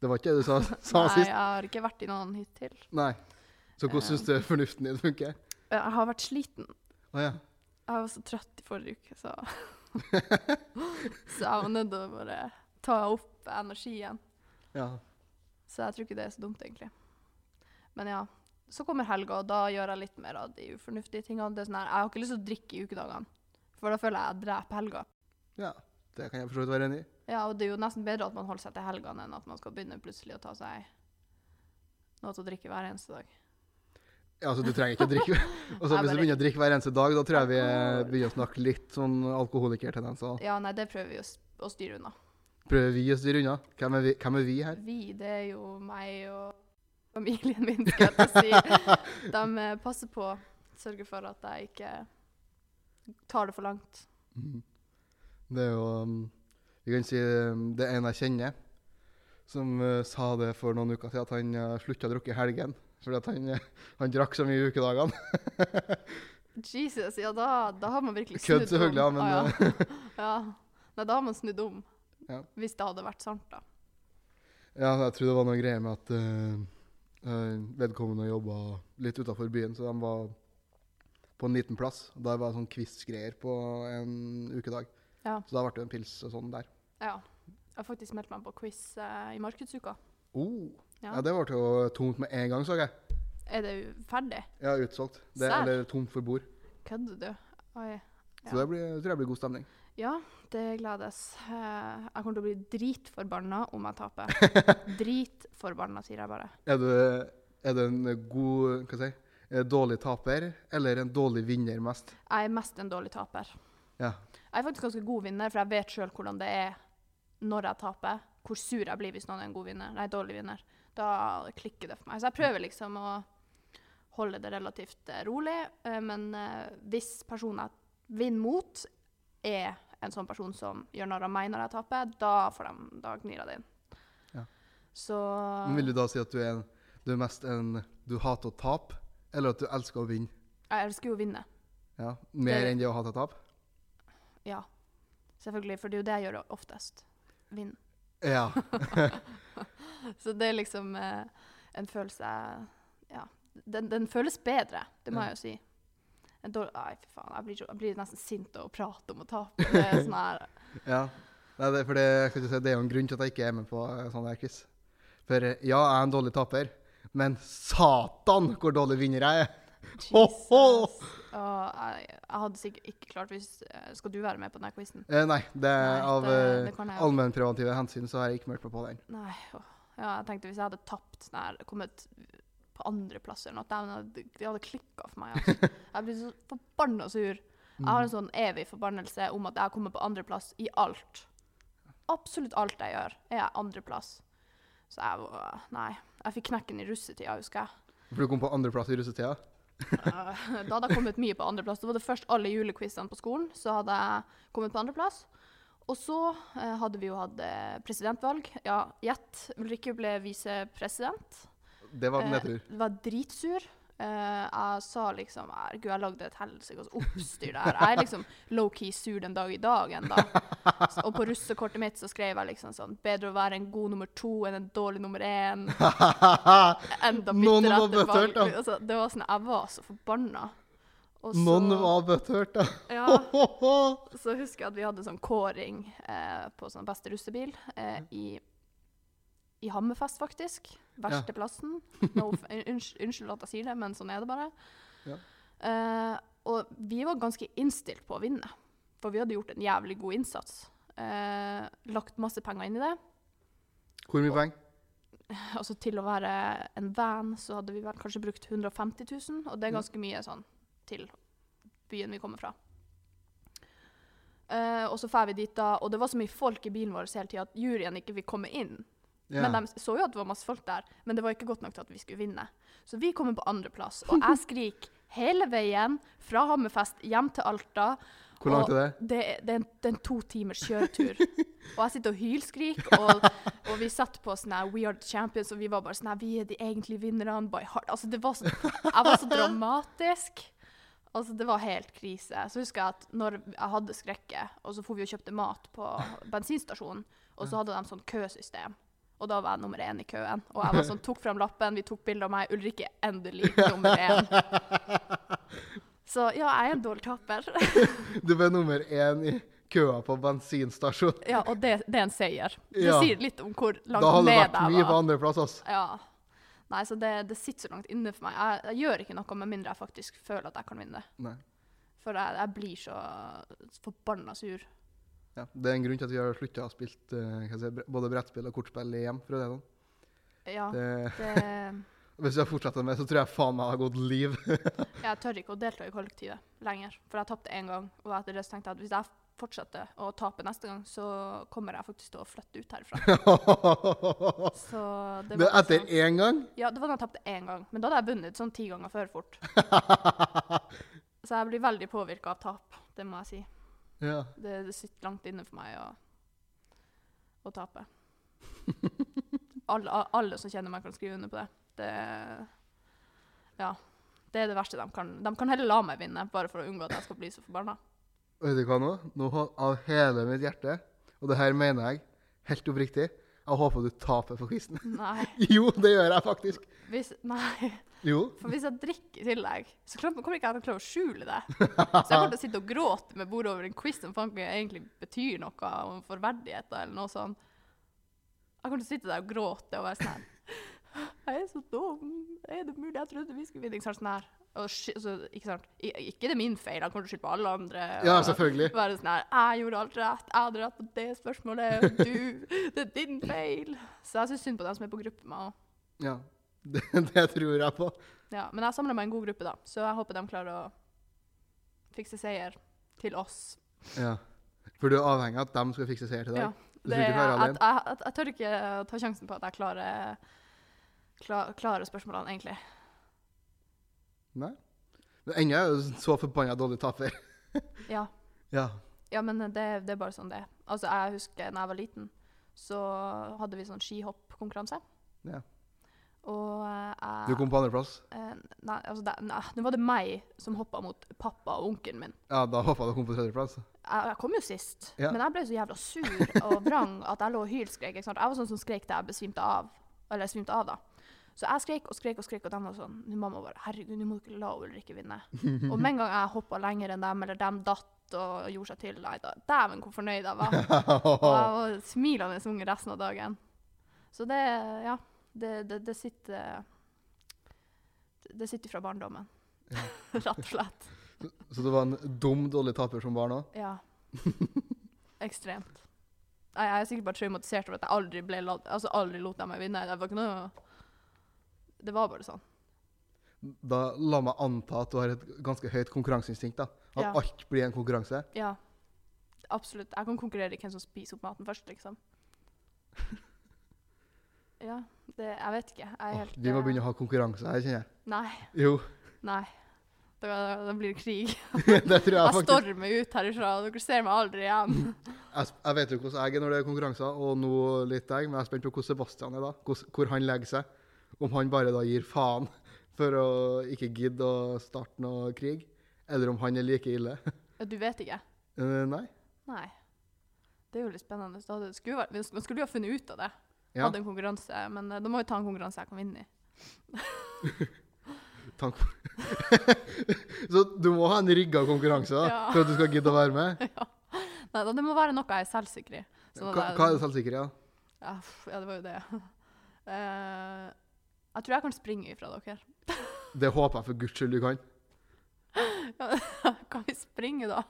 Det var ikke det du sa, sa
Nei, jeg
sist?
har ikke vært i noen hittil.
Nei. Så hvordan
Eh.
syns du fornuften din funker?
Jeg har vært sliten.
Å ja.
Jeg var så trøtt i forrige uke, så Så jeg var nødt til å bare ta opp energien.
ja.
Så jeg tror ikke det er så dumt, egentlig. Men ja. Så kommer helga, og da gjør jeg litt mer av de ufornuftige tingene. Det er sånn her, jeg har ikke lyst til å drikke i ukedagene, for da føler jeg at jeg dreper helga.
Ja. Det kan jeg for så vidt være enig i.
Ja, og det er jo nesten bedre at man holder seg til helgene enn at man skal begynne plutselig å ta seg noe til å drikke hver eneste dag.
Ja, altså, du trenger ikke å drikke altså,
Jeg
Hvis
bare-
du begynner å drikke hver eneste dag, da tror jeg vi eh,
Alkohol.
begynner å snakke litt sånn alkoholikertendenser.
Ja, nei, det prøver vi å, s- å styre unna.
Prøver vi å styre unna? Hvem er vi, hvem er vi her?
Vi, det er jo meg og familien min, skal jeg til å si. De eh, passer på, sørger for at jeg ikke tar det for langt.
Mhm. Det er jo um, Vi kan si um, det er en jeg kjenner, som eh, sa det for noen uker siden, at han eh, slutta å drikke i helgen. Fordi at han, eh, han drakk så mye i ukedagene.
Jesus, ja, da, da har man virkelig snudd
Kødd selvfølgelig, ja,
om.
men
Ah,
eh,
ja. ja. Nei, da har man snudd om.
Ja.
Hvis det hadde vært sant, da.
Ja, jeg tror det var noe greier med at eh, Eh, vedkommende jobba litt utafor byen, så de var på en liten plass. Der var det sånn quiz-greier på en ukedag.
Ja.
Så da ble det en pils og sånn der.
Ja. Jeg har faktisk meldt meg på quiz eh, i markedsuka.
Oh. Ja.
Ja.
det ble jo tomt med en gang, så jeg.
Er det ferdig?
Ja, utsolgt. Det,
Serr?
eller tomt for bord.
Kødder du? Oi.
Så
Ja.
det blir, tror jeg blir god stemning.
Ja, det gledes. Eh, Jeg kommer til å bli dritforbanna om jeg taper. Dritforbanna, sier jeg bare.
Er du, er du en god Hva skal jeg si? eh, Dårlig taper eller en dårlig vinner mest?
Jeg er mest en dårlig taper.
Ja.
Jeg er faktisk ganske god vinner, for jeg vet sjøl hvordan det er når jeg taper. Hvor sur jeg blir hvis noen er en god vinner. Nei, dårlig vinner. Da klikker det for meg. Så jeg prøver liksom å holde det relativt eh, rolig. eh, Men eh, hvis personen jeg vinner mot, er en sånn person som gjør narr av meg når jeg taper, da, får de, da gnir jeg det inn.
Ja.
Så
Men vil du da si at du er, en, du er mest en du hater å tape, eller at du elsker å vinne?
Jeg elsker jo å vinne.
Ja, Mer
Det-
enn det å hate å tape?
Ja. Selvfølgelig, for det er jo det jeg gjør oftest. Vinne.
Ja.
Så det er liksom eh, en følelse jeg Ja. Den, den føles bedre, det må
Ja.
jeg jo si. En dår- Nei, fy faen. Jeg blir, så- jeg blir nesten sint av å prate om å tape. Det er sånn her
Ja. Nei, det, er fordi, jeg skal ikke si, det er jo en grunn til at jeg ikke er med på eh, sånne her quiz. For eh, ja, jeg er en dårlig taper, men satan hvor dårlig vinner jeg er! Ho,
Jesus.
ho!
Og jeg, jeg hadde sikkert ikke klart hvis eh, Skal du være med på denne quizen?
Eh, nei, det er
Nei,
av
det-
eh,
det kan jeg jo.
allmennpreventive hensyn så har jeg ikke meldt meg på den.
Nei. åh. Ja, jeg tenkte hvis jeg hadde tapt sånn her, kommet på andreplass eller noe, dæven, det hadde- det hadde klikka for meg. Altså. Jeg blir så forbanna sur. Jeg
Mm.
har en sånn evig forbannelse om at jeg kommer på andreplass i alt. Absolutt alt jeg gjør, er jeg andreplass. Så jeg var Nei. Jeg fikk knekken i russetida, husker jeg.
For du kom på andreplass i russetida?
Eh, Da hadde jeg kommet mye på andreplass. Da var det først alle julequizene på skolen, så hadde jeg kommet på andreplass. Og så eh, hadde vi jo hatt eh, presidentvalg. Ja, gjett. Ulrikke ble visepresident.
Det var en
Eh,
nedtur.
det var dritsur. Eh, jeg sa liksom Herregud, jeg lagde et helsikes oppstyr der. Jeg er liksom low-key sur den dag i dag ennå. Og på russekortet mitt så skrev jeg liksom sånn Bedre å være en god nummer to enn en dårlig nummer én. Enda
Noen
bitter
var
etter
bøtthørt,
valg.
da.
Altså, det var sånn, jeg var så forbanna. Og så-
Noen var bøtthørt, da.
ja,
Ho, ho, ho.
så husker jeg at vi hadde sånn kåring eh, på sånn beste russebil eh, i, i Hammerfest, faktisk. Verste plassen. No, off- unnskyld, unnskyld at jeg sier det, men sånn er det bare.
Ja.
Eh, og vi var ganske innstilt på å vinne, for vi hadde gjort en jævlig god innsats. Eh, lagt masse penger inn i det.
Hvor mye penger?
Altså til å være en van, så hadde vi vel kanskje brukt 150 000, og det er ganske mye sånn til byen vi kommer fra. Eh, og så drar vi dit da, og det var så mye folk i bilen vår hele tida at juryen ikke fikk komme inn.
Ja.
Men de så jo at det var masse folk der, men det var ikke godt nok til at vi skulle vinne. Så vi kommer på andreplass, og jeg skriker hele veien fra Hammerfest hjem til Alta.
Hvor langt
og
er det?
Det, er- det, er, en, det er en to timers kjøretur. og jeg sitter og hylskriker, og, og vi satt på sånn her We are the champions, og vi var bare sånn her Vi er de egentlige vinnerne by heart. Altså, det var så, jeg var så dramatisk. Altså, det var helt krise. Så husker jeg at når jeg hadde skrekket, og så for vi og kjøpte mat på bensinstasjonen, og så hadde de sånn køsystem. Og da var jeg nummer én i køen. Og jeg var sånn, tok frem lappen, vi tok bilde av meg. Ulrikke er endelig nummer én. Så ja, jeg er en dårlig taper.
Du ble nummer én i køa på bensinstasjonen.
Ja, og det, det er en seier. Det
Ja.
sier litt om hvor langt
Da hadde det
ned
vært mye
jeg
på
var.
andreplass, altså.
Ja. Nei, så det, det sitter så langt inne for meg. Jeg, jeg gjør ikke noe med mindre jeg faktisk føler at jeg kan vinne.
Nei.
For jeg, jeg blir så forbanna sur.
Ja, det er en grunn til at vi har slutta å spille eh, hva skal jeg si, bre- både brettspill og kortspill i hjem. For å si det sånn.
Ja,
Det-
det
Hvis jeg fortsetter med det, så tror jeg faen meg har gått liv.
Jeg tør ikke å delta i kollektivet lenger, for jeg tapte én gang. Og etter det så tenkte jeg at hvis jeg fortsetter å tape neste gang, så kommer jeg faktisk til å flytte ut herfra. Så det
Men
var
etter
liksom-
én gang
Ja, det var da jeg tapte én gang. Men da hadde jeg vunnet sånn ti ganger før fort. Så jeg blir veldig påvirka av tap, det må jeg si.
ja.
Det, det sitter langt inne for meg å, å tape. Alle, alle som kjenner meg, kan skrive under på det. det. Ja. Det er det verste de kan. De kan heller la meg vinne, bare for å unngå at jeg skal bli så forbanna.
Vet du hva nå? Nå har av hele mitt hjerte, og det her mener jeg helt oppriktig Jeg håper du taper på quizen.
Nei.
jo, det gjør jeg faktisk.
Hvis, nei.
Jo.
For hvis jeg drikker i tillegg, så klart- kommer ikke jeg til å klare å skjule det. Så jeg kommer til å sitte og gråte med bordet over en quiz som faen ikke egentlig betyr noe om forverdigheter eller noe sånt. Jeg kommer til å sitte der og gråte og være sånn her. Jeg er så dum. Er det mulig? Jeg trodde vi skulle vinne. Ikke sant? Sånn her. Og sky- så, ikke sant? I- Ikke det er min feil, han kommer til å skylde på alle andre.
Ja,
og
selvfølgelig.
Være sånn her, jeg gjorde alt rett, jeg hadde rett på det spørsmålet, og du, det er din feil. Så jeg synes synd på dem som er på gruppe med meg også.
Ja. Det, det tror jeg på.
Ja, men jeg samler meg en god gruppe, da. Så jeg håper de klarer å fikse seier til oss.
Ja. For du er avhengig av at de skal fikse seier til deg.
Ja,
Du tror ikke du
jeg,
klarer
jeg,
alene?
jeg, jeg tør ikke ta sjansen på at jeg klarer, kla- klarer spørsmålene, egentlig.
Nei. Men ennå er du så forbanna dårlig taper.
Ja,
Ja.
ja men det, det er bare sånn det er. Altså, jeg husker da jeg var liten, så hadde vi sånn skihoppkonkurranse.
Ja.
Og eh,
Du
jeg
kom på andreplass?
eh, Nei, altså, det, nei, nå var det meg som hoppa mot pappa og onkelen min.
Ja, da håpa jeg du kom på tredjeplass.
jeg, jeg kom jo sist,
Ja.
men jeg ble så jævla sur og vrang at jeg lå og hylskrek. Ikke sant? Jeg var sånn som skrek til jeg besvimte av. Eller jeg svimte av, da. Så jeg skrek og skrek og skrek, og de var sånn «Nå, Mamma bare Herregud, nå må du ikke la Ulrikke vinne. og med en gang jeg hoppa lenger enn dem, eller dem datt og gjorde seg til, nei da Dæven, hvor fornøyd jeg var. Og jeg var smilende unge resten av dagen. Så det, ja. Det, det, det sitter Det sitter fra barndommen. Rett og slett.
Så du var en dum, dårlig taper som barn òg?
Ja. Ekstremt. Nei, jeg er sikkert bare traumatisert over at jeg aldri, ble, la- altså aldri lot dem meg vinne. Det var ikke noe Det var bare sånn.
Da la meg anta at du har et ganske høyt konkurranseinstinkt. da. At
Ja.
alt blir en konkurranse.
Ja. Absolutt. Jeg kan konkurrere i hvem som spiser opp maten først, liksom. Ja. Det Jeg vet ikke. Jeg er
Åh,
helt
vi må begynne å ha konkurranse her, kjenner jeg.
Nei.
Jo,
Nei. Da, da blir det krig.
det tror jeg
Jeg
faktisk.
stormer ut herifra, og dere ser meg aldri igjen.
Jeg, sp- jeg vet jo hvordan jeg er når det er konkurranser, og nå litt jeg, men jeg er spent på hvordan Sebastian er da. Hvordan, hvor han legger seg. Om han bare da gir faen for å ikke gidde å starte noe krig, eller om han er like ille.
Ja, Du vet ikke?
Eh, Nei.
Nei. Det er jo litt spennende. Da hadde det skulle vært, man skulle jo ha funnet ut av det.
Ja,
Hadde en konkurranse, men eh, da må vi ta en konkurranse jeg kan vinne i.
takk. Så du må ha en rigga konkurranse da,
Ja.
for at du skal gidde å være med.
Nei, da, det må være noe jeg er selvsikker i. Sånn at
Hva,
jeg-
hva er det selvsikre, da?
Ja, pff, ja, det var jo det. Eh, jeg tror jeg kan springe ifra dere.
Det håper jeg for guds skyld du kan.
Kan vi springe, da?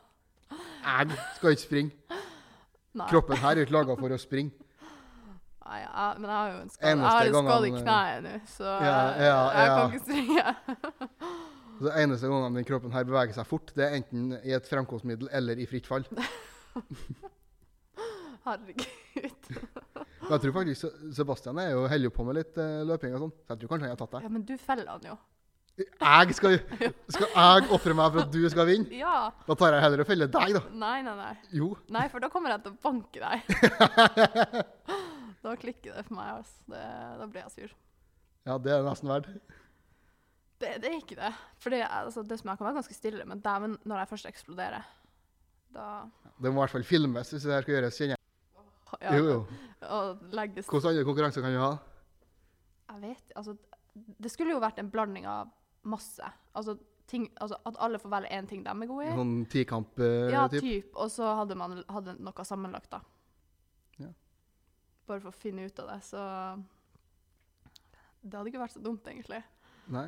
Jeg skal ikke springe.
Nei.
Kroppen her er ikke laga for å springe.
Nei jeg, men jeg har jo en skade, jeg
Eneste
har en skade i
gangen-
kneet nå, så
Ja,
eh,
ja,
jeg
ja.
kan ikke springe.
Så det eneste gangen den kroppen her beveger seg fort, det er enten i et fremkomstmiddel eller i fritt fall.
Herregud.
Men Jeg tror faktisk Se- Sebastian er jo holder jo på med litt eh, løping og sånn, så jeg tror kanskje han har tatt deg.
Ja, men du feller han jo.
Jeg skal, skal jeg ofre meg for at du skal vinne?
Ja.
Da tar jeg heller og feller deg, da.
Nei, nei, nei.
Jo.
Nei, for da kommer jeg til å banke deg. Da klikker det for meg, altså. Det, da blir jeg sur.
Ja, det er det nesten verdt.
Det, det er ikke det. Fordi jeg- altså, det som jeg kan være ganske stille, men dæven, når jeg først eksploderer Da
Det må i hvert fall filmes hvis det her skal gjøres, kjenner jeg.
ja,
Jo, jo.
Og legges
Hvilke andre konkurranser kan du ha?
Jeg vet Altså, det skulle jo vært en blanding av masse. Altså, ting, altså at alle får velge én ting de er gode i.
Sånn tikamp-type?
Ja, typ. Og så hadde man hadde noe sammenlagt, da.
Ja.
Bare for å finne ut av det, så Det hadde ikke vært så dumt, egentlig.
Nei.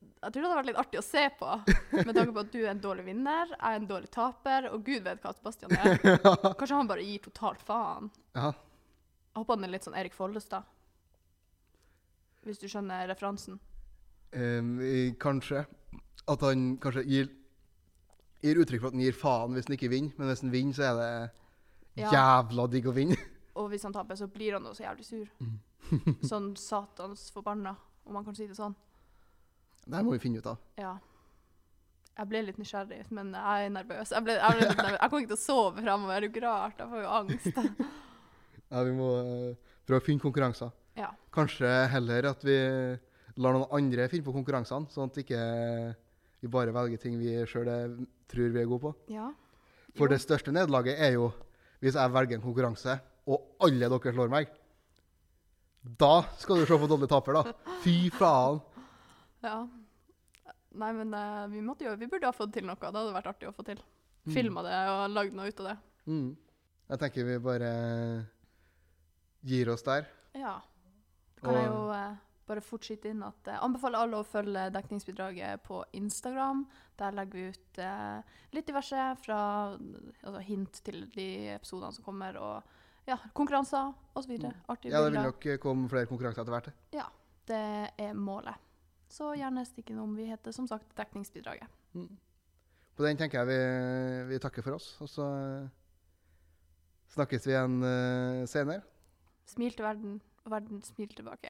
Jeg tror det hadde vært litt artig å se på, med tanke på at du er en dårlig vinner, jeg er en dårlig taper, og gud vet hva Sebastian er. Kanskje han bare gir totalt faen.
Ja.
Jeg håper han er litt sånn Erik Follestad. Hvis du skjønner referansen.
Em, i- Ehm, kanskje at han kanskje gir, gir uttrykk for at han gir faen hvis han ikke vinner, men hvis han vinner, så er det
Ja.
jævla digg å vinne.
Og hvis han taper, så blir han også jævlig sur. sånn satans forbanna, om man kan si det sånn.
Det her må vi finne ut av.
Ja. Jeg ble litt nysgjerrig, men jeg er nervøs. Jeg, ble, jeg, ble litt nervøs. jeg kommer ikke til å sove framover, det er jo ikke rart. Jeg får jo angst.
Ja, vi må eh, prøve å finne konkurranser.
Ja.
Kanskje heller at vi lar noen andre finne på konkurransene, sånn at ikke vi bare velger ting vi sjøl tror vi er gode på.
ja.
For
Jo.
det største nederlaget er jo hvis jeg velger en konkurranse, og alle dere slår meg. Da skal du se på Dolly Taper, da. Fy faen.
Ja. Nei, men eh, vi, måtte jo, vi burde ha fått til noe. Det hadde vært artig å få til. Filma det og lagd noe ut av det.
Mm. Jeg tenker vi bare gir oss der.
Ja. Da kan jeg
Og-
jo eh, bare fort skyte inn at jeg anbefaler alle å følge dekningsbidraget på Instagram. Der legger vi ut eh, litt diverse fra altså hint til de episodene som kommer, og ja, konkurranser osv.
Mm.
Artige
Ja, det vil
bilder.
nok komme flere konkurranser etter hvert.
Det er målet. Så gjerne stikk innom. Vi heter som sagt Dekningsbidraget.
På den tenker jeg vi, vi takker for oss, og så snakkes vi igjen eh, senere.
Smil til verden, og verden smil tilbake.